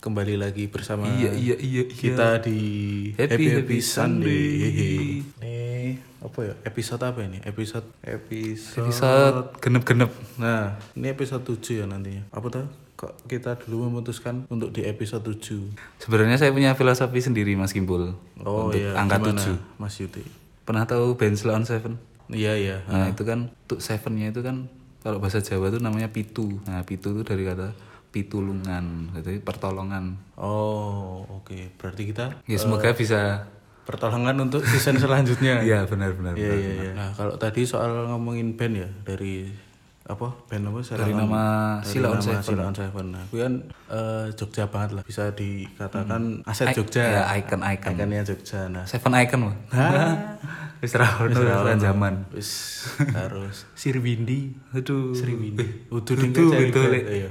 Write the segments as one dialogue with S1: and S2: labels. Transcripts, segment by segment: S1: kembali lagi bersama
S2: Iya, iya, iya, iya.
S1: kita di
S2: Happy Happy Sunday.
S1: Nih apa ya episode apa ini episode episode
S2: Episode genep-genep.
S1: nah ini episode 7 ya nantinya apa tuh kok kita dulu memutuskan untuk di episode 7
S2: Sebenarnya saya punya filosofi sendiri Mas Kimbul.
S1: oh
S2: untuk
S1: iya
S2: angka
S1: gimana,
S2: 7.
S1: Mas Yuti
S2: Pernah tahu Bensley on Seven?
S1: iya iya
S2: Nah, itu kan tuh sevennya itu kan kalau bahasa Jawa itu namanya pitu. Nah, pitu itu dari kata pitulungan, jadi pertolongan.
S1: oh oke berarti kita
S2: Ya semoga bisa
S1: pertolongan untuk season selanjutnya
S2: Iya, benar-benar.
S1: Iya iya iya. Nah kalau tadi soal ngomongin band ya dari apa band apa Sarah
S2: Dari
S1: Lam-
S2: nama
S1: dari
S2: Ah, Sila on
S1: nama
S2: Seven.
S1: Sila on Seven. Nah, aku kan eh, Jogja banget lah bisa dikatakan aset
S2: I-
S1: Jogja.
S2: ya, icon-icon.
S1: Ikonnya Jogja. Nah
S2: Seven icon, Mas. Wis ra ono wis ra zaman.
S1: wis harus
S2: Sirwindi. Aduh. Sirwindi.
S1: udah
S2: Itu betul.
S1: Iya.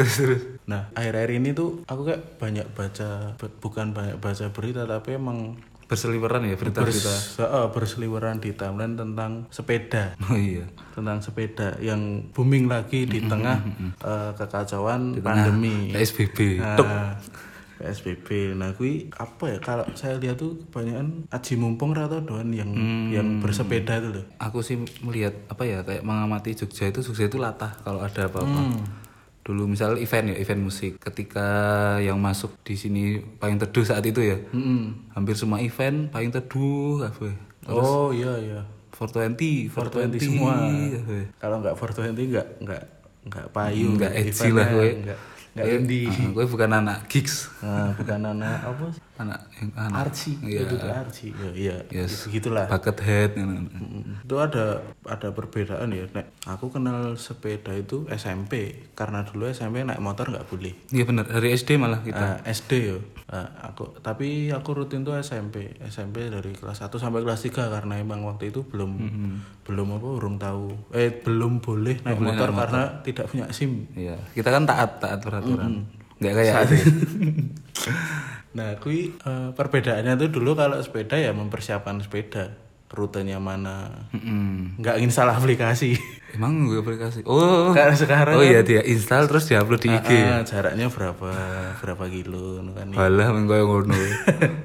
S2: Terus terus.
S1: Nah akhir-akhir ini tuh aku kayak banyak baca bu- bukan banyak baca berita tapi emang
S2: Berseliweran ya
S1: bers,
S2: berita-berita.
S1: eh, berseliweran di timeline tentang sepeda.
S2: Oh iya.
S1: tentang sepeda yang booming lagi
S2: Hmm,
S1: di tengah eh, kekacauan
S2: Eh,
S1: pandemi.
S2: Iya. PSBB.
S1: Nah,
S2: Tuk.
S1: PSBB. Nah, kui apa ya kalau saya lihat tuh kebanyakan aji mumpung atau doan yang yang bersepeda itu loh.
S2: Aku sih melihat apa ya kayak mengamati Jogja itu Jogja itu latah kalau ada apa-apa.
S1: Hmm.
S2: Dulu misal event ya, event musik. Ketika yang masuk di sini paling teduh saat itu ya.
S1: Hmm.
S2: Hampir semua event paling teduh apa. ya,
S1: oh iya iya.
S2: 420,
S1: 420
S2: 420
S1: semua.
S2: apa. ya.
S1: Kalau nggak 420 nggak nggak nggak payu.
S2: Enggak edgy
S1: eventnya,
S2: lah gue.
S1: Nggak nggak indie.
S2: Ah, gue bukan anak gigs.
S1: Nah, bukan anak apa? sih?
S2: Anak yang anak
S1: Archie,
S2: Iya.
S1: duduk Archie. Ya, iya,
S2: Yes.
S1: gitulah.
S2: bucket head. gitu.
S1: itu ada ada perbedaan ya nek aku kenal sepeda itu SMP karena dulu SMP naik motor nggak boleh
S2: Iya benar, dari SD malah
S1: Nah,
S2: kita.
S1: SD yo Nah, aku tapi aku rutin tuh SMP SMP dari kelas 1 sampai kelas 3 karena emang waktu itu belum belum apa belum tahu eh Mhm. belum boleh naik motor karena tidak punya SIM
S2: Iya, kita kan taat taat
S1: Hmm.
S2: peraturan. Enggak kayak
S1: nah kui eh, perbedaannya tuh dulu kalau sepeda ya mempersiapkan sepeda rutenya mana
S2: Mm-mm.
S1: nggak ingin salah aplikasi
S2: Emang gue aplikasi. Oh,
S1: Karena sekarang
S2: Oh iya dia install terus diupload di IG.
S1: Ah, jaraknya berapa berapa kilo kan
S2: Walah men koyo ngono.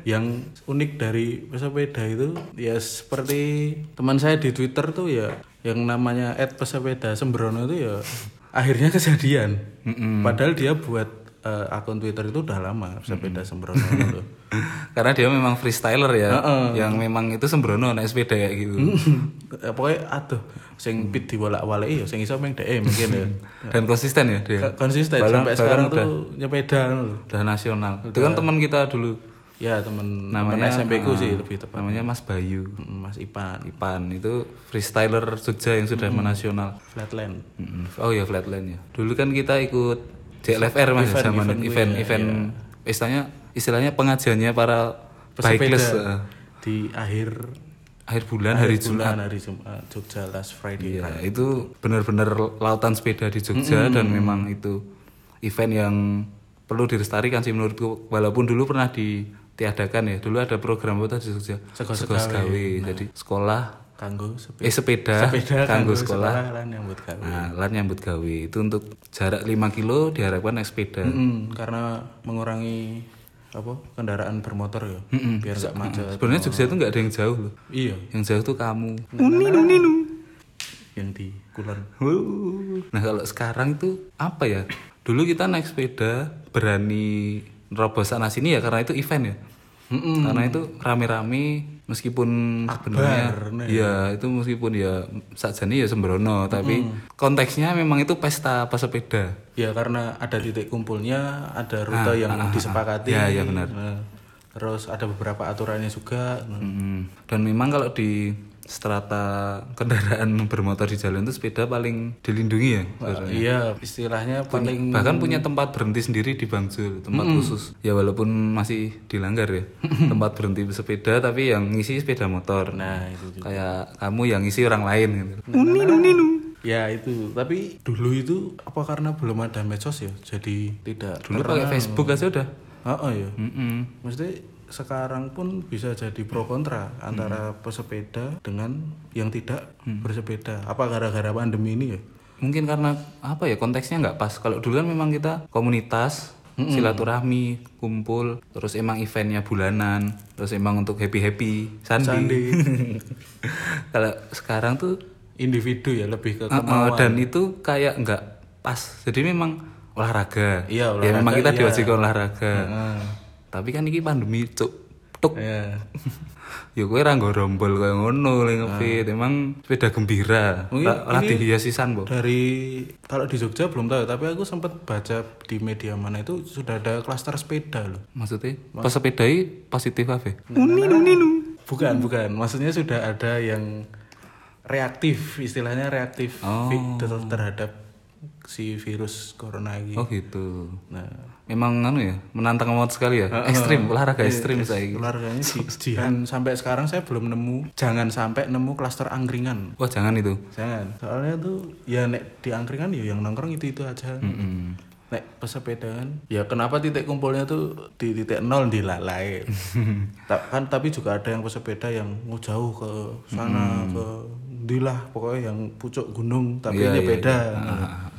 S1: yang unik dari pesepeda itu ya seperti teman saya di Twitter tuh ya yang namanya @pesepeda sembrono itu ya akhirnya kejadian. Padahal dia buat eh, akun Twitter itu udah lama pesepeda sembrono itu.
S2: Karena dia memang freestyler ya, yang memang itu sembrono naik sepeda kayak gitu.
S1: Eh, pokoknya aduh sing pit diwalak-walaki ya sing iso meng DE mungkin ya.
S2: Dan konsisten ya dia.
S1: K- Konsisten
S2: Barang-
S1: sampai
S2: barang
S1: sekarang
S2: udah.
S1: tuh nyepeda lho.
S2: Udah nasional. Itu kan teman kita dulu.
S1: Ya temen
S2: Namanya-
S1: namanya SMP ku sih lebih tepat.
S2: Namanya Mas Bayu.
S1: Mas Ipan
S2: Ipan itu freestyler Jogja yang sudah menasional.
S1: Flatland.
S2: Mm-mm. Oh ya flatland ya. Dulu kan kita ikut JLFR mas ya, zaman event Iya. event, istilahnya istilahnya pengajiannya para bikeless eh,
S1: di akhir
S2: akhir bulan hari Jumat.
S1: bulan hari Jumat Jogja last Friday.
S2: Ya, itu benar-benar lautan sepeda di Jogja dan memang itu event yang perlu direstarikan sih menurutku walaupun dulu pernah ditiadakan ya. Dulu ada program apa tadi di Jogja?
S1: Sego
S2: Sekolah Jadi sekolah
S1: Kanggo sepi.
S2: eh sepeda,
S1: Nah. Sepeda
S2: kanggo
S1: kanggo
S2: sekolah
S1: sekolah lan yang buat kami.
S2: Nah, lan nyambut gawe itu untuk jarak 5 kilo diharapkan naik sepeda.
S1: Mm, karena mengurangi apa kendaraan bermotor ya biar nggak macet.
S2: Sebenarnya Jogja itu nggak ada yang jauh loh.
S1: Iya,
S2: Yang jauh tuh kamu.
S1: yang di Kulon.
S2: Nah kalau sekarang itu apa ya? Dulu kita naik sepeda berani nerobos sana sini ya karena itu event ya. Karena itu rame-rame meskipun sebenarnya ya itu meskipun ya sajane ya sembrono tapi konteksnya memang itu pesta pesepeda.
S1: Ya karena ada titik kumpulnya, ada rute
S2: Ah,
S1: yang disepakati.
S2: Ya, ya, benar.
S1: Nah, terus ada beberapa aturannya juga. Nah,
S2: Mm-mm. Mm. Dan memang kalau di strata kendaraan bermotor di jalan itu sepeda paling dilindungi ya.
S1: Nah, Iya, istilahnya paling
S2: Bahkan punya
S1: Hmm.
S2: tempat berhenti sendiri di Bangsul, tempat khusus. Ya walaupun masih dilanggar ya. tempat berhenti sepeda tapi yang ngisi sepeda motor.
S1: Hmm. nah itu Nah,
S2: Kayak kamu yang ngisi orang lain gitu.
S1: Ya itu, tapi dulu itu apa karena belum ada medsos ya, jadi tidak.
S2: Dulu pakai Facebook aja udah.
S1: Ah ah, ya,
S2: Mm-mm.
S1: mesti sekarang pun bisa jadi pro kontra antara pesepeda dengan yang tidak bersepeda. Apa gara-gara pandemi ini ya?
S2: Mungkin karena apa ya konteksnya nggak pas. Kalau dulu kan memang kita komunitas
S1: Hmm.
S2: silaturahmi kumpul terus emang eventnya bulanan terus emang untuk happy happy sandi, kalau sekarang tuh
S1: individu ya lebih ke
S2: uh, uh, dan itu kayak nggak pas jadi memang olahraga
S1: Iya,
S2: ya
S1: olahraga,
S2: memang kita
S1: iya.
S2: diwajibkan olahraga tapi kan ini pandemi cuk tuk
S1: ya
S2: ya kowe ra nggo rombol kaya ngono le ngefit emang sepeda gembira
S1: Mungkin
S2: ra
S1: Ah.
S2: ra
S1: Oh, iya, ini-
S2: dihiasisan po
S1: Nah, dari kalau di Jogja belum tahu tapi aku sempat baca di media mana itu sudah ada klaster sepeda loh
S2: maksudnya pas sepedai positif apa
S1: Hmm. bukan bukan maksudnya sudah ada yang reaktif istilahnya reaktif fi- ter- terhadap si virus corona ini
S2: oh gitu
S1: nah Ah,
S2: memang anu ya menantang amat sekali ya ekstrim olahraga
S1: Iya,
S2: ekstrim saya
S1: keluarganya di dan sampai sekarang saya belum nemu jangan sampai nemu klaster angkringan
S2: wah jangan itu
S1: jangan soalnya tuh ya nek di angkringan ya yang nongkrong itu itu aja
S2: Hmm.
S1: nek pesepedaan ya kenapa titik kumpulnya tuh di titik nol di lalai Ta- kan tapi juga ada yang pesepeda yang mau jauh ke sana ke dilah pokoknya yang pucuk gunung tapi
S2: Hmm. Iya,
S1: ini
S2: iya,
S1: beda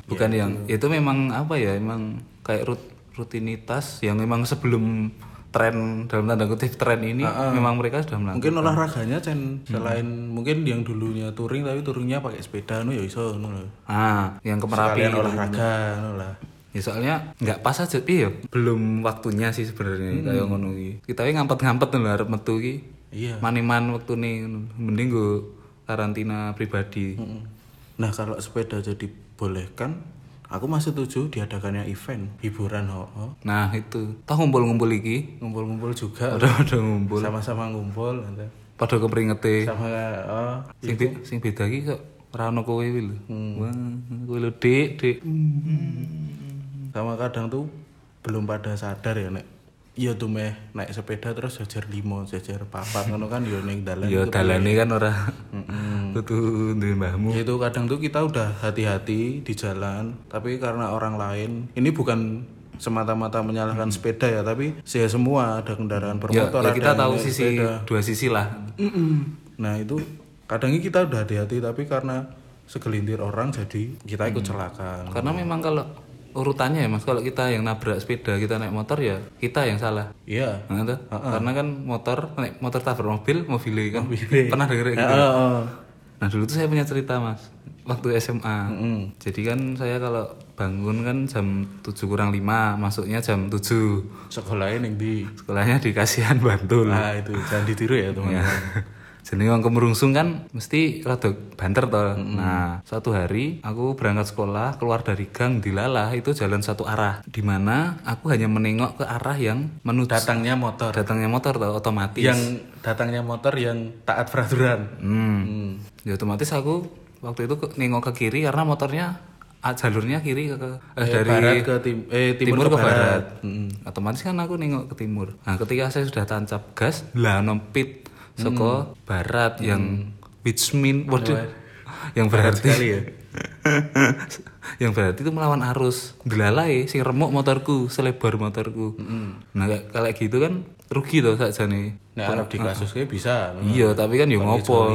S2: bukan yang itu memang apa ya emang kayak rut- rutinitas yang memang sebelum tren dalam tanda kutip tren ini memang mereka sudah melakukan
S1: mungkin olahraganya
S2: Hmm.
S1: Cen. selain mungkin yang dulunya touring tapi touringnya pakai sepeda no ya iso no lho.
S2: ah yang kemerapi
S1: sekalian olahraga no lah
S2: ya soalnya nggak pas aja iya belum waktunya sih sebenarnya kayak ngono iki kita ngampet ngampet nih arep metu iki
S1: iya
S2: maniman waktu nih mending gue karantina pribadi
S1: nah kalau sepeda jadi bolehkan aku masih setuju diadakannya event hiburan ho, ho.
S2: nah itu tau ngumpul ngumpul iki
S1: ngumpul-ngumpul juga
S2: udah udah ngumpul
S1: sama-sama ngumpul nanti.
S2: pada keperingete
S1: sama oh,
S2: sing, be- sing beda iki kok rano kowe iki lho
S1: Hmm.
S2: wah kowe lho dik dik
S1: sama kadang tuh belum pada sadar ya nek iya tuh meh naik sepeda terus jajar limo jajar papat ngono kan yo ning dalan
S2: ya dalane kan ora
S1: Hmm.
S2: kudu duwe mbahmu
S1: itu Gitu, kadang tuh kita udah hati-hati di jalan tapi karena orang lain ini bukan semata-mata menyalahkan sepeda ya tapi saya semua ada kendaraan
S2: Hmm. ya,
S1: bermotor
S2: ya
S1: ada
S2: kita
S1: yang
S2: tahu
S1: naik
S2: sisi
S1: sepeda.
S2: dua sisi lah
S1: Mm-mm. nah itu kadangnya kita udah hati-hati tapi karena segelintir orang jadi kita
S2: Hmm.
S1: ikut celaka
S2: Karena memang kalau urutannya ya mas, kalau kita yang nabrak sepeda, kita naik motor ya kita yang salah.
S1: iya
S2: Nah, itu. Karena kan motor, naik motor tabrak mobil, mobilnya kan. Pernah denger ya, gitu.
S1: Heeh.
S2: Nah dulu tuh saya punya cerita mas, waktu SMA.
S1: Hmm.
S2: Jadi kan saya kalau bangun kan jam 7 kurang 5, masuknya jam 7.
S1: sekolahnya ning di
S2: Sekolahnya di Kasihan Bantul.
S1: nah itu jangan ditiru ya teman
S2: Ya. Jadi orang kemerungsung kan mesti rada banter toh. Nah, suatu hari aku berangkat sekolah keluar dari gang Dilala itu jalan satu arah di mana aku hanya menengok ke arah yang menuju
S1: datangnya motor Iya.
S2: datangnya motor toh otomatis.
S1: yang datangnya motor yang taat peraturan
S2: Hmm. Ya otomatis aku waktu itu ke, nengok ke kiri karena motornya ah, jalurnya kiri ke, ke- eh, dari
S1: barat ke tim eh timur, ke barat,
S2: Mm. Otomatis kan aku nengok ke timur. Nah, ketika saya sudah tancap gas, lah nempit
S1: Mm.
S2: saka barat yang which mean waduh. yang berarti
S1: sekali ya
S2: yang berarti itu melawan arus. Delalai sing remuk motorku, selebar motorku. Nah, kayak- kayak gitu kan rugi toh sakjane.
S1: nah harap di kasus kayak bisa
S2: Iya, tapi kan yo ngopo.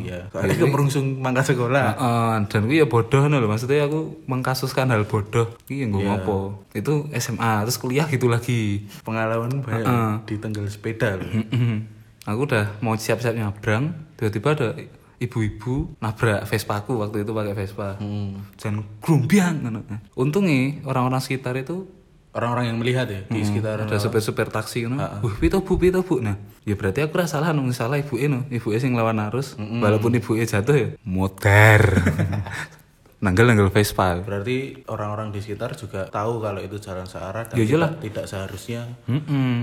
S1: iya soalnya kemerungsung mangkat sekolah
S2: Heeh, dan gue ya bodoh no lho. maksudnya aku mengkasuskan hal bodoh Iya gue ngopo itu SMA terus kuliah gitu lagi
S1: pengalaman banyak di tenggal sepeda loh
S2: Mm-hmm. aku udah mau siap-siap nyabrang tiba-tiba ada ibu-ibu nabrak Vespa aku waktu itu pakai Vespa jangan grumbiang ngono. untungnya orang-orang sekitar itu
S1: orang-orang yang melihat ya di sekitar
S2: ada supir-supir taksi ngono. Wah, pito bu, pito bu. Nah, ya berarti aku ra salah nung salah ibuke no. Ibuke sing lawan arus, walaupun ibuke jatuh ya motor. Nanggal-nanggal Vespa.
S1: berarti orang-orang di sekitar juga tahu kalau itu jalan searah dan
S2: Ya
S1: tidak, tidak seharusnya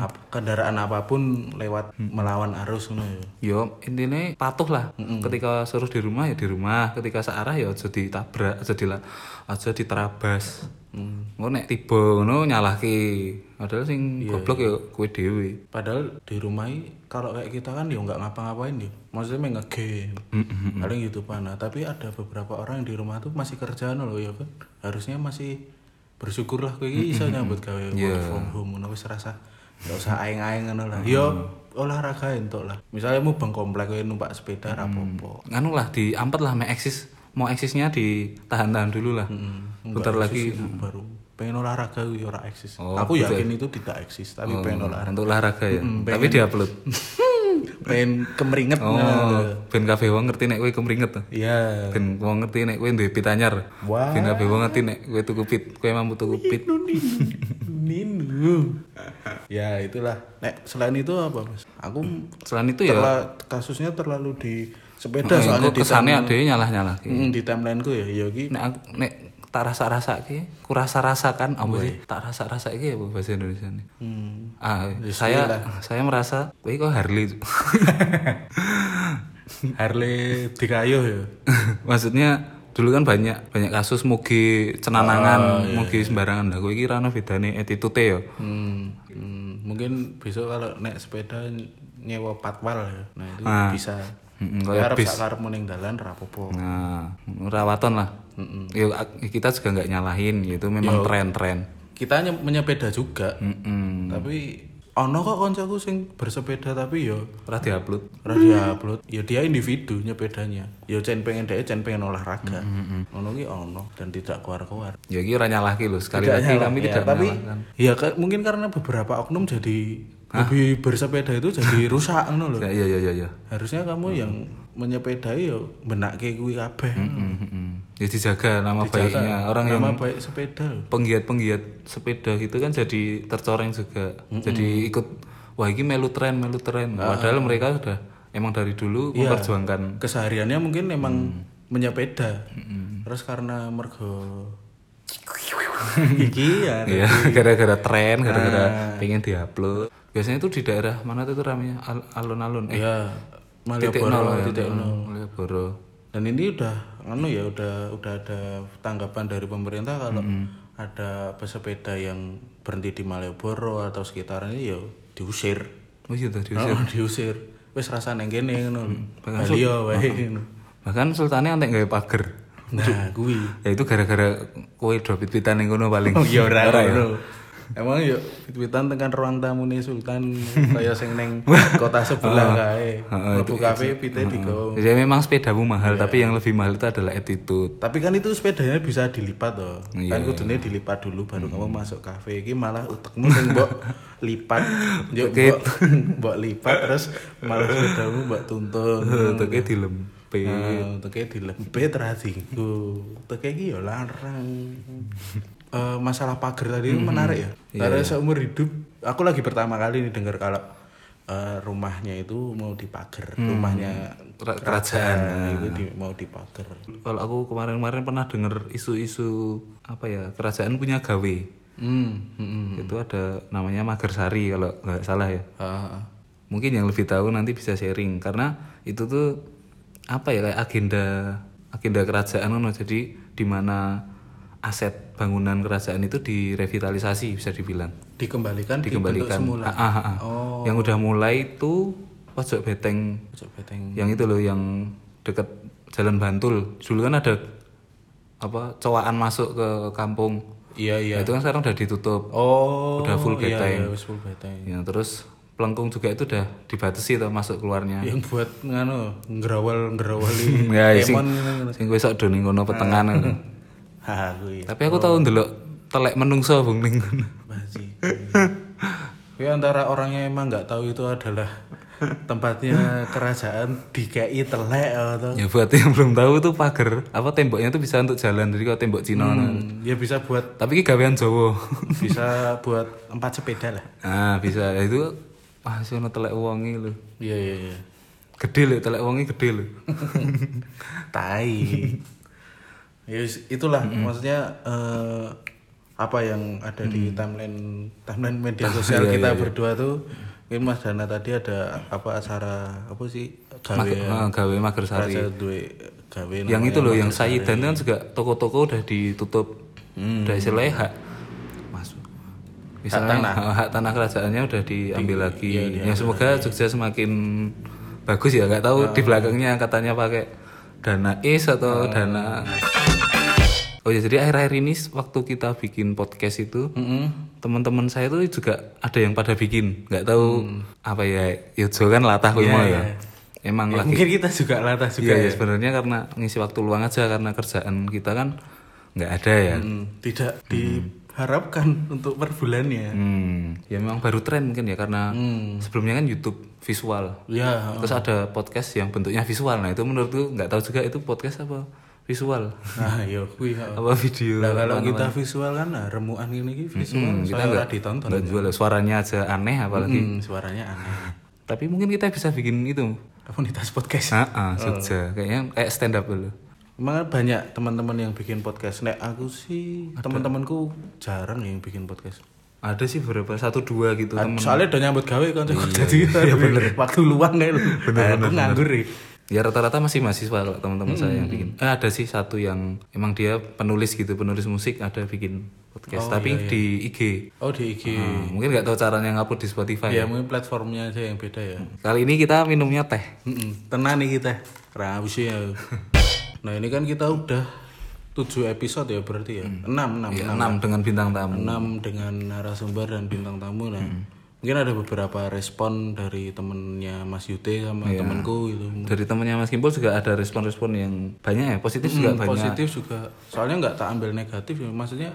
S1: ap- kendaraan apapun lewat melawan arus ngono ya.
S2: Yo intinya patuh lah. Ketika suruh di rumah ya di rumah. Ketika searah ya aja ditabrak, aja dila, aja diterabas.
S1: Mm.
S2: Ngono nek tiba ngono nyalahke. Padahal sing goblok ya kowe dhewe.
S1: Padahal di rumah ini, kalau kayak kita kan ya nggak ngapa-ngapain ya. Maksudnya main nge-game. Paling gitu panah. Tapi ada beberapa orang yang di rumah tuh masih kerjaan loh ya kan. Harusnya masih bersyukurlah kowe iki iso nyambut gawe
S2: Iya.
S1: work from home ngono wis rasa gak usah aing-aing ngono lah. Yo olahraga entuk lah. Misalnya mau bang komplek kowe numpak sepeda rapopo.
S2: Anu
S1: ya.
S2: lah diampet lah mek eksis. Mau eksisnya ditahan-tahan dulu lah. Bentar lagi
S1: baru pengen olahraga gue ora eksis
S2: Oh,
S1: aku
S2: gitu ya.
S1: yakin itu tidak eksis tapi pengen olahraga
S2: Mm, Untuk olahraga ya. Tapi diupload.
S1: pengen kemeringet
S2: Oh,
S1: nah.
S2: ben kabeh wong ngerti nek kowe kemringet. to.
S1: Iya.
S2: Ben wong ngerti nek kowe duwe pit anyar.
S1: Wah.
S2: Ben kabeh wong ngerti nek kowe tuku pit, kowe mampu tuku pit.
S1: Ninu. ya itulah. Nek selain itu apa mas? Hmm. Iya. Aku
S2: Selain itu ya
S1: terla- kasusnya terlalu di sepeda
S2: eh,
S1: soalnya
S2: kok
S1: di
S2: kesane ada nyalah-nyalah.
S1: Mm, di timeline ku ya. Ya ki
S2: Nek aku- nek tak rasa-rasa ki, ku rasa-rasa kan apa sih? Tak rasa-rasa ki apa bahasa Indonesia ini?
S1: Hmm.
S2: Ah,
S1: Ya,
S2: saya saya merasa kowe kok Harley.
S1: Harley di kayu ya.
S2: Maksudnya dulu kan banyak banyak kasus mugi cenanangan, mugi sembarangan. Lah kowe iki ra ono bedane attitude
S1: Oh, iya,
S2: ya.
S1: Hmm, hmm, mungkin besok kalau naik sepeda nyewa patwal ya. Nah itu bisa.
S2: Mm-mm,
S1: Kowe arep sak karepmu ning dalan rapopo.
S2: Nah, rawatan lah. Ya, ak- kita juga nggak nyalahin gitu, memang tren-tren.
S1: Kita nye- menyepeda juga.
S2: Mm-mm.
S1: Tapi ono kok koncoku sing bersepeda tapi ya
S2: Pernah diupload.
S1: Ora diupload, ya dia individu nyepedanya. Ya cen pengen dhek, cen pengen olahraga.
S2: Mm,
S1: Ono ki ono dan tidak keluar-keluar.
S2: Ya ini orang nyalah gitu. Sekali lagi kami tidak
S1: tapi
S2: menyalahkan.
S1: ya ka- mungkin karena beberapa oknum jadi hobi bersepeda itu jadi rusak ngono lho.
S2: Ya, ya, ya, ya, ya.
S1: Harusnya kamu yang menyepedai ya benake kuwi kabeh.
S2: Mm-mm. Ya dijaga nama baiknya. Orang Mm, yang
S1: Nama baik sepeda. lho.
S2: penggiat-penggiat sepeda gitu kan jadi tercoreng juga. Jadi ikut, wah ini melu tren, melu tren.
S1: Ah.
S2: Padahal mereka sudah emang dari dulu
S1: Iya.
S2: memperjuangkan.
S1: Kesehariannya mungkin memang
S2: Mm.
S1: menyepeda. Terus karena mergo iki ya
S2: Iya, gara-gara tren,
S1: Ah.
S2: gara-gara pengen diupload. Biasanya itu di daerah mana tuh ramenya Al- alun-alun. Eh,
S1: ya
S2: titik
S1: Malioboro
S2: nol ya,
S1: titik
S2: hmm,
S1: nol
S2: Malioboro.
S1: dan ini udah anu ya udah udah ada tanggapan dari pemerintah kalau ada pesepeda yang berhenti di Malioboro atau sekitarnya ya diusir
S2: Oh iya tuh, diusir.
S1: Oh, diusir wes rasa neng kene ngono Bali ya, wae ngono.
S2: Bahkan sultannya antek gawe pager.
S1: nah kuwi
S2: Ya itu gara-gara kowe drop pit-pitan yang kono paling.
S1: oh ya ora
S2: Ora ya?
S1: ngono. emang yo wit-witan tekan ruang tamune sultan kaya sing neng kota sebelah kae mlebu kafe pite digawa
S2: Jadi memang sepedamu mahal,
S1: Iya.
S2: tapi yang lebih mahal itu adalah attitude.
S1: Tapi kan itu sepedanya bisa dilipat toh.
S2: Iya.
S1: Kan kudune dilipat dulu
S2: Hmm.
S1: baru kamu masuk kafe. Iki malah utekmu sing mbok lipat. Yo mbok mbok lipat terus malah sepedamu mbok tuntun.
S2: Untuknya dilempit.
S1: Nah, Uteke dilempit ra dinggo. Uteke iki yo larang. Eh, masalah pagar tadi
S2: Hmm.
S1: itu menarik ya.
S2: Iya.
S1: Karena seumur hidup aku lagi pertama kali nih dengar kalau eh, rumahnya itu mau dipagar, rumahnya
S2: Hmm. Ra- Kerajaan.
S1: eh, itu di- mau dipagar.
S2: Kalau aku kemarin-kemarin pernah denger isu-isu apa ya kerajaan punya gawe.
S1: Hmm, hmm, hmm.
S2: Itu ada namanya Magersari kalau nggak salah ya.
S1: Ah, ah.
S2: mungkin yang lebih tahu nanti bisa sharing karena itu tuh apa ya kayak agenda agenda kerajaan ngono jadi di mana aset bangunan kerajaan itu direvitalisasi bisa dibilang
S1: dikembalikan
S2: dikembalikan Ah, ah, ah, ah. yang udah mulai itu pojok beteng
S1: coba teng
S2: yang itu loh yang deket jalan Bantul dulu kan ada apa cowaan masuk ke kampung
S1: iya iya
S2: Nah, itu kan sekarang udah ditutup
S1: oh
S2: Udah full
S1: iya,
S2: beteng.
S1: iya, wis full beteng
S2: ya, terus pelengkung juga itu udah dibatasi tuh masuk keluarnya
S1: Ya, yang buat ngano nggerawal nggerawali
S2: ya sing sing kowe sok do ning kono petengan
S1: Ah.
S2: ngono.
S1: haha kuwi
S2: Tapi aku
S1: Oh.
S2: tau ndelok telek menungso bung ning kono.
S1: basi kuwi antara orangnya emang nggak tahu itu adalah tempatnya kerajaan DKI telek oh, atau
S2: Ya buat yang belum tahu tuh pagar apa temboknya tuh bisa untuk jalan jadi kalau tembok Cina. ngono.
S1: Hmm, ya bisa buat
S2: Tapi ki gawean Jawa.
S1: bisa buat empat sepeda lah
S2: nah, bisa. Ya, itu wah sih ono telek wongi lho.
S1: iya iya iya
S2: Gede lho telek wongi gede lho.
S1: tai ya wis, itulah maksudnya eh, apa yang ada di timeline timeline media
S2: Oh,
S1: sosial
S2: iya,
S1: kita berdua tuh mungkin Mas Dana tadi ada apa acara apa sih gawe
S2: Nah, gawe mager sari.
S1: acara duwe gawe
S2: Yang itu loh yang Saidan kan juga toko-toko udah ditutup. Udah istilahnya Hmm. hak masuk. Misalnya hak tanah. kerajaannya udah diambil lagi. ya semoga Jogja semakin bagus ya. Nggak tahu di belakangnya katanya pakai dana is atau dana Oh ya jadi akhir-akhir ini waktu kita bikin podcast itu teman-teman saya itu juga ada yang pada bikin nggak tahu apa ya Yojo kan latah kuwi mau ya emang lagi
S1: mungkin kita juga latah juga
S2: Iya, ya, sebenarnya karena ngisi waktu luang aja karena kerjaan kita kan nggak ada ya.
S1: Hmm, tidak di harapkan untuk per bulannya.
S2: Hmm, ya memang baru tren mungkin ya karena sebelumnya kan YouTube visual.
S1: Ya,
S2: Terus ada podcast yang bentuknya visual. Nah, itu menurutku nggak tahu juga itu podcast apa visual
S1: nah yo kuwi. ha.
S2: apa video.
S1: Lah kalau kita visual kan nah, remuan ini iki visual
S2: kita
S1: saya ora ditonton.
S2: Nggak jual suaranya aja aneh apalagi.
S1: Hmm, suaranya aneh.
S2: Tapi mungkin kita bisa bikin itu.
S1: Komunitas podcast.
S2: Ah, ah, Jogja. Kayaknya kayak stand up dulu.
S1: Emang kan banyak teman-teman yang bikin podcast. Nek aku sih teman-temanku jarang yang bikin podcast.
S2: Ada sih beberapa satu dua gitu.
S1: Ad- Soalnya udah nyambut gawe kan jadi kita bener. waktu luang kayak lu. Nah, Aku nganggur ya.
S2: Ya rata-rata masih mahasiswa kalau teman-teman saya yang bikin. Eh, ada sih satu yang emang dia penulis gitu, penulis musik ada bikin podcast tapi di IG.
S1: Oh di IG.
S2: Nah, mungkin nggak tahu caranya ngupload di Spotify.
S1: Ya mungkin platformnya aja yang beda ya.
S2: Kali ini kita minumnya teh.
S1: Mm-mm. Tenang nih kita. Raus ya. Nah ini kan kita udah 7 episode ya berarti ya. 6 6
S2: Ya, enam dengan bintang tamu.
S1: 6 dengan narasumber dan bintang tamu nah.
S2: Hmm.
S1: Mungkin ada beberapa respon dari temennya Mas Yute sama
S2: Iya.
S1: temenku gitu.
S2: Dari temannya Mas Kimpul juga ada respon-respon yang banyak ya, positif juga banyak.
S1: positif juga soalnya nggak tak ambil negatif ya maksudnya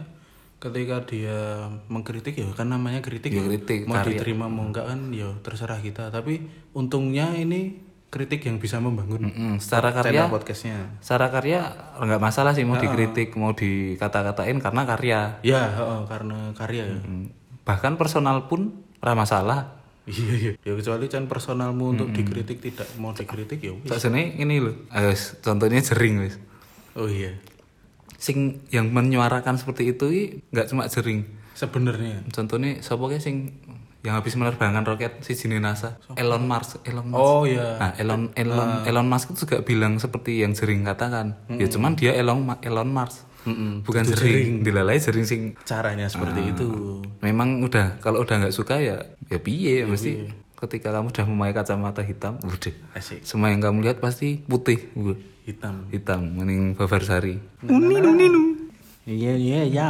S1: ketika dia mengkritik ya kan namanya kritik ya,
S2: kritik,
S1: mau diterima mau enggak kan ya terserah kita tapi untungnya ini kritik yang bisa membangun
S2: Mm, secara karya
S1: channel podcastnya
S2: secara karya nggak masalah sih mau dikritik mau dikata-katain karena karya
S1: ya heeh, karena karya ya
S2: Hmm. bahkan personal pun ra masalah
S1: iya iya ya kecuali kan personalmu untuk
S2: Hmm.
S1: dikritik tidak mau dikritik ya wis.
S2: tak sini ini loh Ah, wis, contohnya jering wis
S1: oh iya
S2: sing yang menyuarakan seperti itu i, nggak cuma jering
S1: sebenarnya
S2: contohnya siapa kayak sing yang habis menerbangkan roket si jenis NASA Elon Musk Elon Musk
S1: oh iya
S2: Nah, Elon Elon Elon Musk itu juga bilang seperti yang jering katakan ya cuman dia Elon Ma- Elon Musk bukan jering, dilalai jering sing
S1: caranya seperti itu
S2: memang udah kalau udah nggak suka ya ya piye mesti ketika kamu udah memakai kacamata hitam udah
S1: asik
S2: semua yang kamu lihat pasti putih Wuh,
S1: hitam
S2: hitam mending Bavarsari
S1: iya iya ya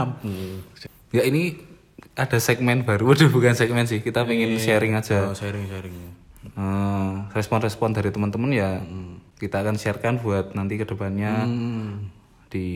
S2: ya ini ada segmen baru waduh bukan segmen sih kita pengen sharing aja
S1: oh, sharing sharing
S2: Eh, respon-respon dari teman-teman ya kita akan sharekan buat nanti kedepannya Hmm.
S1: Hmm.
S2: di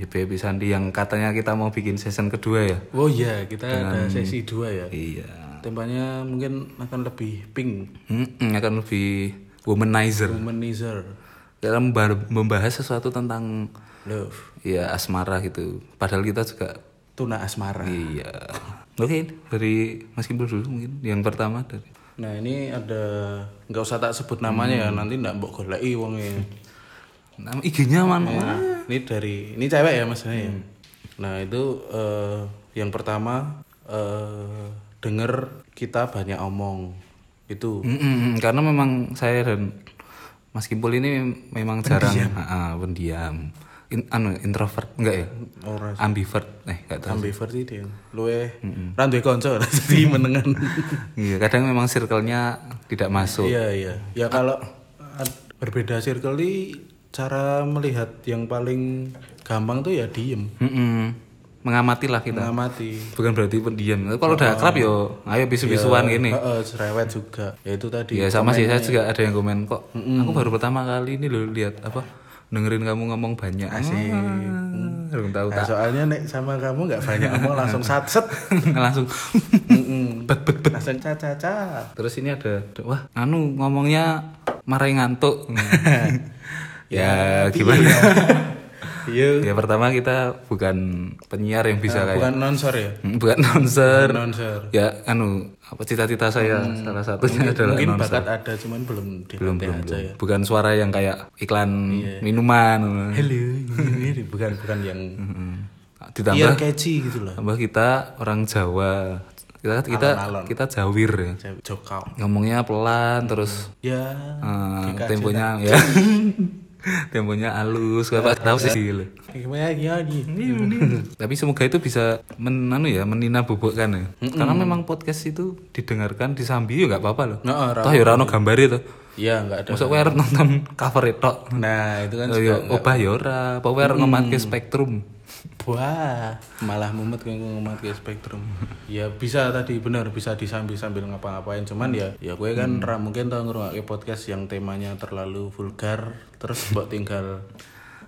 S2: HBP Sandi yang katanya kita mau bikin season kedua ya
S1: Oh iya, kita ada sesi dua ya.
S2: iya
S1: Tempanya mungkin akan lebih pink,
S2: Mm-mm, Hmm, akan lebih womanizer
S1: womanizer,
S2: kita memba- membahas sesuatu tentang
S1: love,
S2: ya asmara gitu padahal kita juga
S1: tuna asmara.
S2: iya oke dari Mas Kimbul dulu mungkin yang pertama dari
S1: Nah ini ada nggak usah tak sebut namanya ya, nanti nggak mbok goleki wongnya.
S2: nama IG-nya mana
S1: Nah, ini dari ini cewek ya maksudnya. ya. Nah itu eh, yang pertama eh denger kita banyak omong
S2: Hmm.
S1: itu.
S2: Mm-mm, karena memang saya dan Mas Kimbul ini memang jarang Ah, ah, pendiam In- anu introvert enggak ya
S1: Orang
S2: ambivert eh enggak tahu
S1: ambivert iki dia, luwe randuwe kanca jadi menengan.
S2: iya kadang memang circle-nya tidak masuk
S1: Iya iya. Ya kalau ad- berbeda circle ini cara melihat yang paling gampang tuh ya diem,
S2: Mm-mm. mengamati lah kita
S1: mengamati.
S2: bukan berarti pendiam Tapi kalau udah akrab yo ayo bisu-bisuan gini
S1: Heeh, cerewet juga. Ya itu tadi.
S2: ya sama sih saya juga ada yang komen kok aku baru pertama kali ini loh lihat apa dengerin kamu ngomong banyak asik belum tahu
S1: Nah, soalnya nek sama kamu nggak banyak ngomong langsung sat set.
S2: langsung
S1: Mm-mm.
S2: bet bet bet
S1: langsung caca caca.
S2: terus ini ada wah anu ngomongnya marai ngantuk ya gimana
S1: Iya.
S2: ya pertama kita bukan penyiar yang bisa kayak hmm,
S1: Bukan nonsor ya.
S2: bukan announcer
S1: Nonsor.
S2: ya anu apa cita-cita saya salah satunya adalah
S1: Hmm. Mungkin
S2: announcer.
S1: bakat ada cuman belum
S2: belum
S1: dilatih
S2: belum,
S1: aja
S2: belum.
S1: ya. Iya.
S2: bukan suara yang kayak iklan minuman
S1: Hello, ini bukan bukan yang
S2: ditambah
S1: iya catchy gitu loh.
S2: tambah kita orang Jawa kita kita kita Jawir ya
S1: Jokau.
S2: ngomongnya pelan terus
S1: Ya,
S2: eh, temponya ya temponya halus gak
S1: Iya.
S2: tahu sih gitu.
S1: gimana lagi?
S2: tapi semoga itu bisa menanu ya menina bobokkan ya karena memang podcast itu didengarkan disambi ya nggak apa-apa loh
S1: Nah, ra-
S2: toh ya rano gambar itu
S1: Iya, nggak ada.
S2: masuk gue harus nonton cover itu
S1: Nah, itu kan
S2: Oh, ya, obah ya ora, apa gue harus ngemake spektrum
S1: wah, malah mumet kan ngomong ke spektrum. Ya bisa tadi benar bisa disambi sambil ngapa-ngapain cuman ya ya gue kan ra mungkin tau ngrungokke podcast yang temanya terlalu vulgar terus mbok tinggal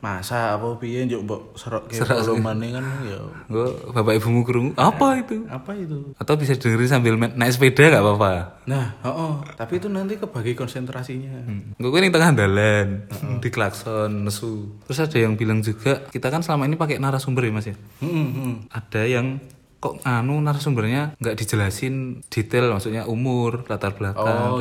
S1: masa apa piye njuk mbok serok ke
S2: Serok.
S1: polomane kan ya
S2: Gue bapak ibumu kerungu. Apa itu?
S1: apa itu
S2: Atau bisa dengerin sambil main- naik sepeda nggak apa-apa?
S1: nah oh, tapi itu nanti kebagi konsentrasinya
S2: Gue kan di tengah dalan,
S1: Hmm.
S2: di klakson, nesu. Terus ada yang bilang juga, kita kan selama ini pakai narasumber ya mas ya.
S1: Hmm, hmm.
S2: Ada yang kok anu narasumbernya nggak dijelasin detail, maksudnya umur, latar belakang.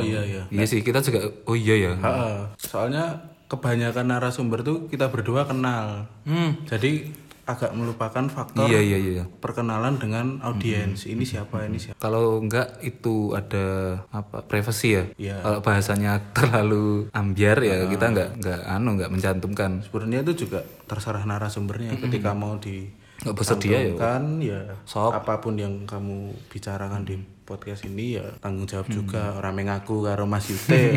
S1: oh iya iya
S2: Iya sih, kita juga, oh iya ya.
S1: Ha-ha. soalnya kebanyakan narasumber tuh kita berdua kenal
S2: Hmm,
S1: jadi agak melupakan faktor
S2: iya iya iya.
S1: perkenalan dengan
S2: Mhm.
S1: audiens ini siapa ini siapa
S2: Kalau enggak itu ada apa privacy ya.
S1: Iya. Ah.
S2: Kalau bahasanya terlalu ambiar ya kita enggak enggak anu enggak mencantumkan.
S1: sebenarnya itu juga terserah narasumbernya ketika mau di
S2: Enggak Mhm. bersedia ya.
S1: kan ya
S2: Sok.
S1: apapun yang kamu bicarakan di podcast ini ya tanggung jawab
S2: Mhm.
S1: juga orang mengaku karo Mas Yute ya.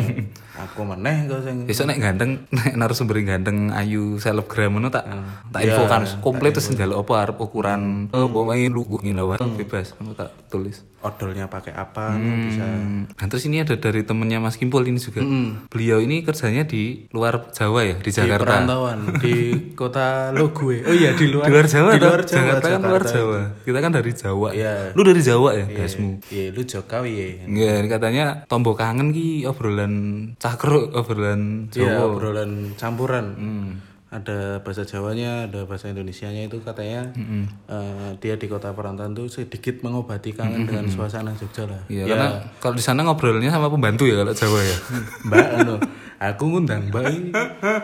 S1: aku meneh kau sing
S2: Besok nek ganteng nek narasumber ganteng ayu selebgram ngono tak Hmm. Ya. tak infokan komplit terus njaluk apa arep ukuran eh pokoknya Hmm. lu gini lawat bebas kamu tak tulis.
S1: odolnya pakai apa bisa
S2: Nah, terus ini ada dari temennya Mas Kimpul ini juga. Beliau ini kerjanya di luar Jawa ya,
S1: di
S2: di Jakarta.
S1: perantauan di kota Logue oh iya di luar
S2: di luar Jawa
S1: di luar Jawa
S2: toh? Jakarta kan luar Jawa kita kan dari Jawa
S1: Iya.
S2: lu dari Jawa ya gasmu
S1: iya lu Jokawi ya
S2: Iya, ini katanya tombok kangen ki obrolan cakro obrolan
S1: iya
S2: Jawa Hmm.
S1: obrolan campuran ada bahasa Jawanya ada bahasa Indonesianya itu katanya eh, dia di kota perantauan tuh sedikit mengobati kangen dengan suasana Jogja lah Ya,
S2: Iya, karena kalau di sana ngobrolnya sama pembantu ya kalau Jawa ya
S1: Mbak anu, aku ngundang Mbak ini.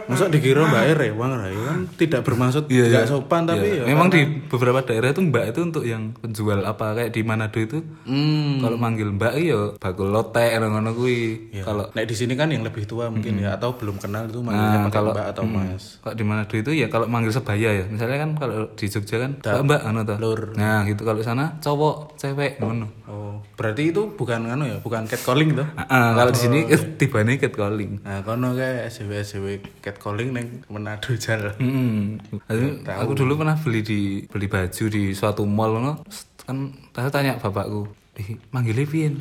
S1: Masa dikira Mbak E rewang ra ya kan tidak bermaksud
S2: Iya,
S1: tidak sopan tapi ya.
S2: memang di beberapa daerah itu mbak itu untuk yang penjual apa kayak di Manado itu
S1: Hmm.
S2: kalau manggil mbak iya bakul lotek ngono-ngono kuwi
S1: Ya.
S2: kalau
S1: Nek di sini kan yang lebih tua mungkin ya atau belum kenal itu
S2: Nah,
S1: manggilnya pakai Mbak
S2: hmm.
S1: atau Mas.
S2: kalau di Manado itu ya kalau manggil sebaya ya misalnya kan kalau di Jogja kan mbak mbak anu toh
S1: Lur.
S2: nah gitu kalau di sana cowok cewek ngono
S1: Oh, berarti itu bukan anu ya, bukan catcalling tuh.
S2: Ah, ah, kalau di sini tiba nih calling
S1: Nah, kono kayak SJW SJW catcalling neng Manado jalan.
S2: Hmm. Aku- aku dulu pernah beli di beli baju di suatu mall ngono. Set, kan saya tanya bapakku, "Ih, manggilnya piye?"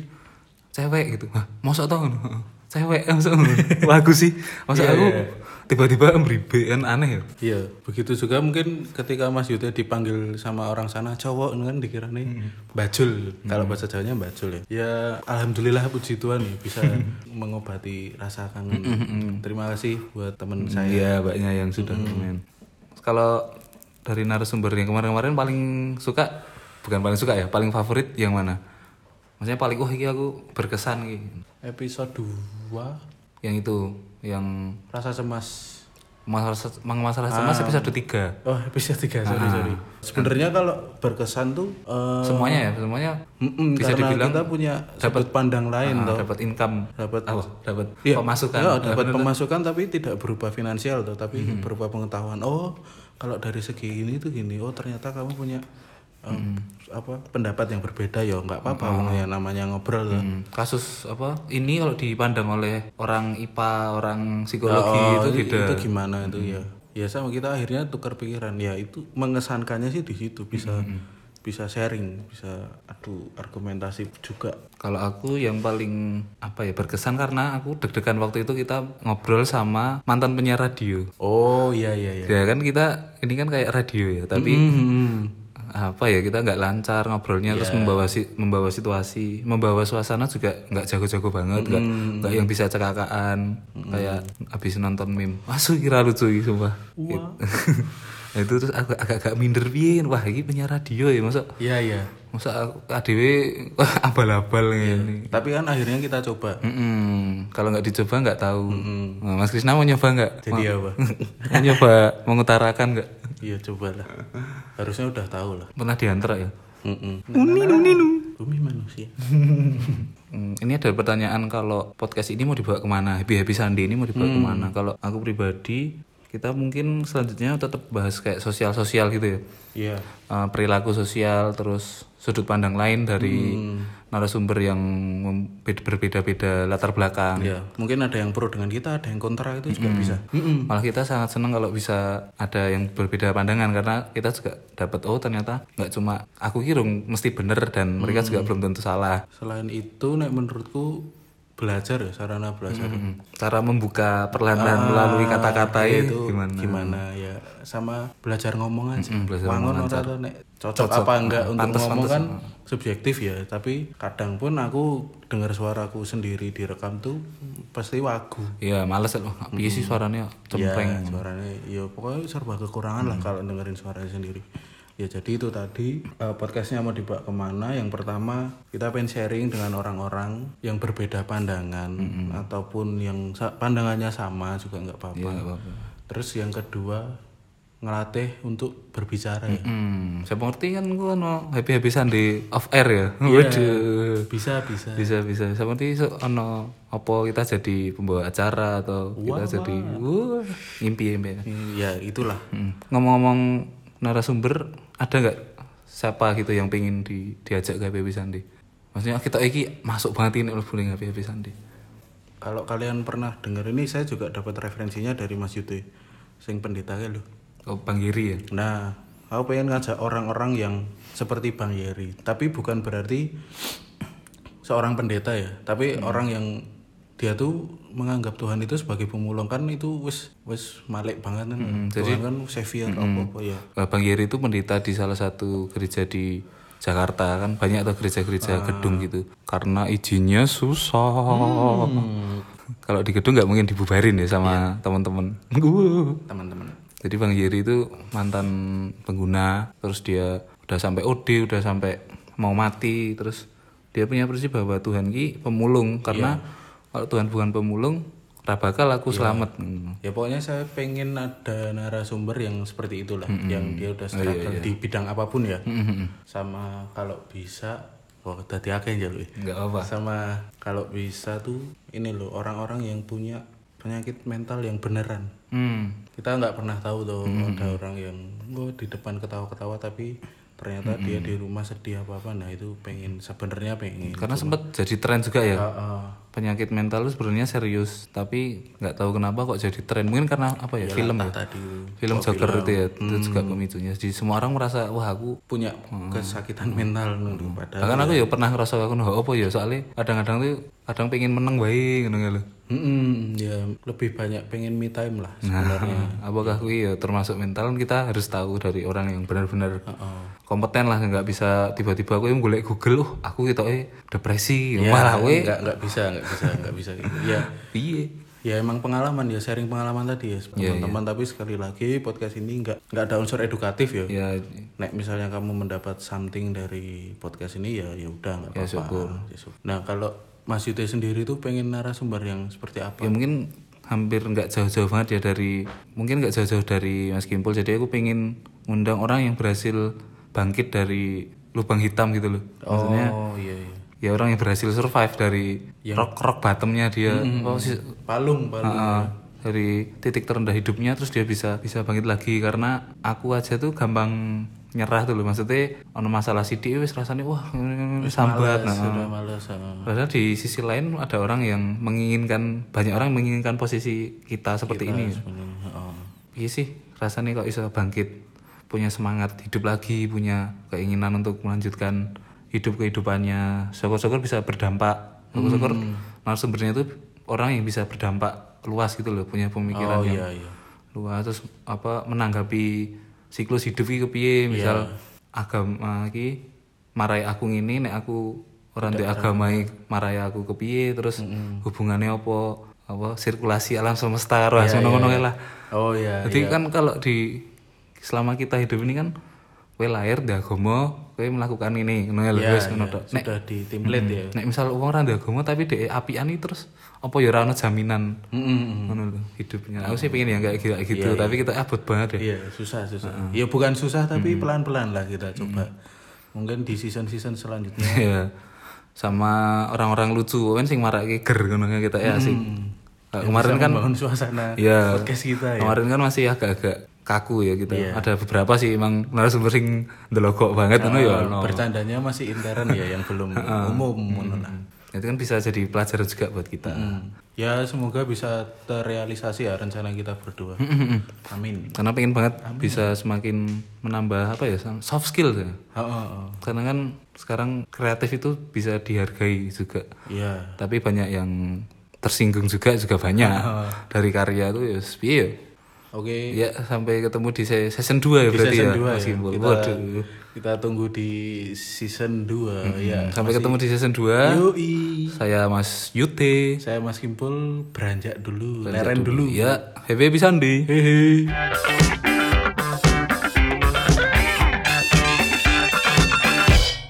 S2: Cewek gitu. Hah, mosok to ngono? Heeh. Cewek mosok ngono. Wah, aku sih. Masa aku tiba-tiba mribe kan aneh ya.
S1: Iya, begitu juga mungkin ketika Mas Yute dipanggil sama orang sana cowok kan dikira nih
S2: Hmm.
S1: bajul. Kalau bahasa Jawanya bajul ya. Ya alhamdulillah puji Tuhan ya bisa
S2: Hmm.
S1: mengobati rasa kangen. Terima kasih buat teman saya.
S2: Iya, mbaknya yang sudah komen. Kalau dari narasumber yang kemarin-kemarin paling suka bukan paling suka ya, paling favorit yang mana? Maksudnya paling wah iki aku berkesan iki.
S1: Episode 2
S2: Yang itu, yang
S1: rasa cemas.
S2: masalah masalah cemas episode 3.
S1: Oh, episode 3
S2: Ah.
S1: sorry sorry. Sebenarnya kalau berkesan tuh eh,
S2: Semuanya ya, semuanya
S1: mm-mm,
S2: Bisa
S1: karena
S2: dibilang
S1: kita punya sudut pandang lain
S2: ah,
S1: toh.
S2: dapat income,
S1: Dapat
S2: apa? Dapat
S1: Iya.
S2: pemasukan.
S1: Iya, dapat pemasukan tapi tidak berupa finansial tuh, tapi berupa pengetahuan. Oh, kalau dari segi ini tuh gini. Oh, ternyata kamu punya em, apa pendapat yang berbeda ya nggak apa-apa wong yang namanya ngobrol toh.
S2: Hmm, Kasus apa? Ini kalau dipandang oleh orang IPA, orang psikologi
S1: Oh,
S2: itu
S1: i-
S2: beda.
S1: itu gimana itu ya. Ya sama kita akhirnya tukar pikiran. Ya itu mengesankannya sih di situ bisa bisa sharing, bisa adu argumentasi juga.
S2: Kalau aku yang paling apa ya berkesan karena aku deg-degan waktu itu kita ngobrol sama mantan penyiar radio.
S1: Oh, iya iya iya.
S2: Ya kan kita ini kan kayak radio ya, tapi
S1: Hmm.
S2: apa ya kita nggak lancar ngobrolnya terus membawa si, membawa situasi membawa suasana juga nggak jago-jago banget nggak nggak yang bisa cekakaan kayak habis nonton meme masuk kira lucu gitu sumpah Gitu. Nah, itu terus agak agak, agak minder piye wah ini penyiar radio ya masa
S1: Iya iya.
S2: masa aku- ADW wah, abal-abal ini
S1: Tapi kan akhirnya kita coba.
S2: Mm-mm. kalau nggak dicoba nggak tahu Nah, Mas Krisna mau nyoba nggak
S1: Jadi apa?
S2: mau nyoba mengutarakan nggak
S1: Iya cobalah. Harusnya udah tahu lah.
S2: pernah diantar ya
S1: Bumi manusia.
S2: Hmm, ini ada pertanyaan kalau podcast ini mau dibawa kemana? Happy Happy Sunday ini mau dibawa kemana? Kalau aku pribadi, kita mungkin selanjutnya tetap bahas kayak sosial-sosial gitu ya.
S1: Iya.
S2: Eh, perilaku sosial, terus sudut pandang lain dari narasumber yang mem- bed- berbeda-beda latar belakang.
S1: Iya. Mungkin ada yang pro dengan kita, ada yang kontra itu juga bisa.
S2: Malah kita sangat senang kalau bisa ada yang berbeda pandangan karena kita juga dapat oh ternyata nggak cuma aku kirung mesti bener dan mereka juga belum tentu salah.
S1: Selain itu, nek menurutku belajar ya sarana belajar
S2: Hmm. Cara membuka perlahan-lahan melalui kata-kata itu gimana?
S1: gimana ya sama belajar ngomong aja
S2: Mm-mm, belajar
S1: wangun ora tau nek cocok, apa enggak untuk
S2: Pantes,
S1: ngomong
S2: pantes,
S1: kan subjektif ya tapi kadang pun aku dengar suaraku sendiri direkam tuh pasti wagu
S2: Ya males loh. Piye sih suaranya
S1: ya,
S2: cempreng.
S1: suaranya ya pokoknya serba kekurangan
S2: Hmm.
S1: lah kalau dengerin suaranya sendiri ya jadi itu tadi eh, podcastnya mau dibawa kemana yang pertama kita pengen sharing dengan orang-orang yang berbeda pandangan
S2: Hmm,
S1: ataupun yang sa- pandangannya sama juga nggak apa-apa
S2: Iya, nggak apa-apa.
S1: terus yang kedua ngelatih untuk berbicara ya.
S2: Hmm, saya mengerti kan gua no happy-happy di off air ya. Waduh.
S1: bisa bisa
S2: Bisa bisa. Saya mengerti so, ono apa kita jadi pembawa acara atau kita jadi wah, ngimpi ngimpi.
S1: ya itulah
S2: Hmm. Ngomong-ngomong narasumber ada nggak siapa gitu yang pengen di, diajak ke Happy Happy Sandi? Maksudnya kita iki masuk banget ini oleh bullying Happy Happy Sandi.
S1: kalau kalian pernah denger ini saya juga dapat referensinya dari Mas Yute sing pendeta kayak lho.
S2: Oh, Bang Giri ya.
S1: Nah, aku pengen ngajak orang-orang yang seperti Bang Yeri, tapi bukan berarti seorang pendeta ya, tapi orang yang dia tuh menganggap Tuhan itu sebagai pemulung kan itu wis wis malik banget kan. Tuhan kan savior apa-apa ya.
S2: Nah, Bang Yeri itu pendeta di salah satu gereja di Jakarta kan banyak atau gereja-gereja gedung gitu karena izinnya susah kalau di gedung nggak mungkin dibubarin ya sama teman-teman Wuh.
S1: Teman-teman.
S2: jadi Bang Yeri itu mantan pengguna terus dia udah sampai OD udah sampai mau mati terus dia punya prinsip bahwa Tuhan ki pemulung karena kalau Tuhan bukan pemulung rabakal aku selamat Hmm.
S1: Ya pokoknya saya pengen ada narasumber yang seperti itulah, yang dia udah struggle di bidang apapun ya. Sama kalau bisa Wah, tadi akeh ya lu.
S2: nggak apa
S1: sama kalau bisa tuh ini loh orang-orang yang punya penyakit mental yang beneran
S2: hmm.
S1: kita nggak pernah tahu tuh ada orang yang oh, di depan ketawa-ketawa tapi ternyata dia di rumah sedih apa apa nah itu pengen sebenarnya pengen
S2: karena sempat jadi tren juga ya
S1: Ah, ah.
S2: penyakit mental itu sebenarnya serius tapi nggak tahu kenapa kok jadi tren mungkin karena apa ya film ya
S1: tadi
S2: film Joker itu ya itu juga pemicunya jadi semua orang merasa wah aku
S1: punya kesakitan mental dulu padahal
S2: bahkan aku ya pernah ngerasa aku nah apa ya soalnya kadang-kadang tuh kadang pengen menang baik ngono lho
S1: Mm-mm, ya lebih banyak pengen me time lah
S2: nah apakah aku ya termasuk mental kita harus tahu dari orang yang benar-benar kompeten lah nggak bisa tiba-tiba aku yang golek Google oh aku gitu eh depresi malah
S1: nggak
S2: we
S1: nggak bisa nggak bisa nggak bisa gitu. ya
S2: piye
S1: Ya emang pengalaman ya sharing pengalaman tadi ya teman-teman tapi sekali lagi podcast ini nggak nggak ada unsur edukatif ya.
S2: ya
S1: Nek misalnya kamu mendapat something dari podcast ini ya ya udah nggak apa-apa. Ya, syukur. Nah kalau Mas Yute sendiri tuh pengen narasumber yang seperti apa?
S2: ya mungkin hampir nggak jauh-jauh banget ya dari mungkin nggak jauh-jauh dari Mas Kimpul jadi aku pengen ngundang orang yang berhasil bangkit dari lubang hitam gitu loh maksudnya
S1: Oh iya iya.
S2: ya orang yang berhasil survive dari
S1: Ya.
S2: rock rock bottomnya dia
S1: Mm-hmm.
S2: oh, si-
S1: Palung palung.
S2: ah, dari titik terendah hidupnya terus dia bisa bisa bangkit lagi karena aku aja tuh gampang nyerah tuh loh maksudnya ono masalah sidik wis rasanya wah sambat nah,
S1: Sudah males. ah.
S2: Padahal di sisi lain ada orang yang menginginkan banyak orang menginginkan posisi kita seperti ini.
S1: Sebenarnya, oh.
S2: Iya sih, rasanya kok bisa bangkit, punya semangat hidup lagi, punya keinginan untuk melanjutkan hidup kehidupannya. Syukur-syukur bisa berdampak. Syukur-syukur narasumbernya itu orang yang bisa berdampak luas gitu loh, punya pemikiran
S1: Oh
S2: yang
S1: iya iya.
S2: luas terus apa menanggapi siklus hidup iki kepiye
S1: Iya.
S2: misal agama iki marai aku ngene nek aku ora ndek agama iki marai aku kepiye terus hubungannya apa apa sirkulasi alam semesta ras ngono-ngono kae lah
S1: Oh iya.
S2: jadi kan kalau di selama kita hidup ini kan kowe lahir ndek agama kowe melakukan ini ngono ya lho,
S1: Iya,
S2: wis ngono tok. Nek-
S1: Sudah di template ya.
S2: nek misal wong ora ndek agama tapi dhek apian iki terus apa ya ora ono jaminan
S1: Mm-mm.
S2: ngono lho hidupnya Hmm. aku sih pengen yang kayak gitu, kayak gitu tapi kita abot banget ya
S1: Iya susah susah. Ya bukan susah tapi pelan-pelan lah kita coba. Mungkin di season-season selanjutnya.
S2: Iya. sama orang-orang lucu kan sing marake ger ngono kayak kita ya asik Nah, kemarin kan
S1: membangun suasana
S2: Iya.
S1: podcast kita ya.
S2: kemarin kan masih agak-agak kaku ya kita ada beberapa sih emang narasumber sing ndelogok banget ngono ya ono.
S1: Bercandanya masih intern ya yang belum umum. ngono lah.
S2: itu kan bisa jadi pelajaran juga buat kita
S1: Ya semoga bisa terrealisasi ya rencana kita berdua. Amin.
S2: Karena pengen banget bisa semakin menambah apa ya soft skill ya.
S1: Ha, ha, ha.
S2: Karena kan sekarang kreatif itu bisa dihargai juga.
S1: Iya.
S2: Tapi banyak yang tersinggung juga juga banyak
S1: Oh.
S2: dari karya tuh ya piye ya.
S1: Oke.
S2: Ya sampai ketemu di se- season 2 ya
S1: Di
S2: berarti
S1: season
S2: ya.
S1: 2
S2: Mas
S1: ya.
S2: Gimbal.
S1: Kita,
S2: Waduh.
S1: kita tunggu di season 2 ya.
S2: Sampai ketemu di season 2.
S1: Yoi.
S2: Saya Mas Yute.
S1: Saya
S2: Iya.
S1: Mas Kimpul beranjak dulu, leren dulu.
S2: Ya, happy happy Sunday.
S1: Hehe.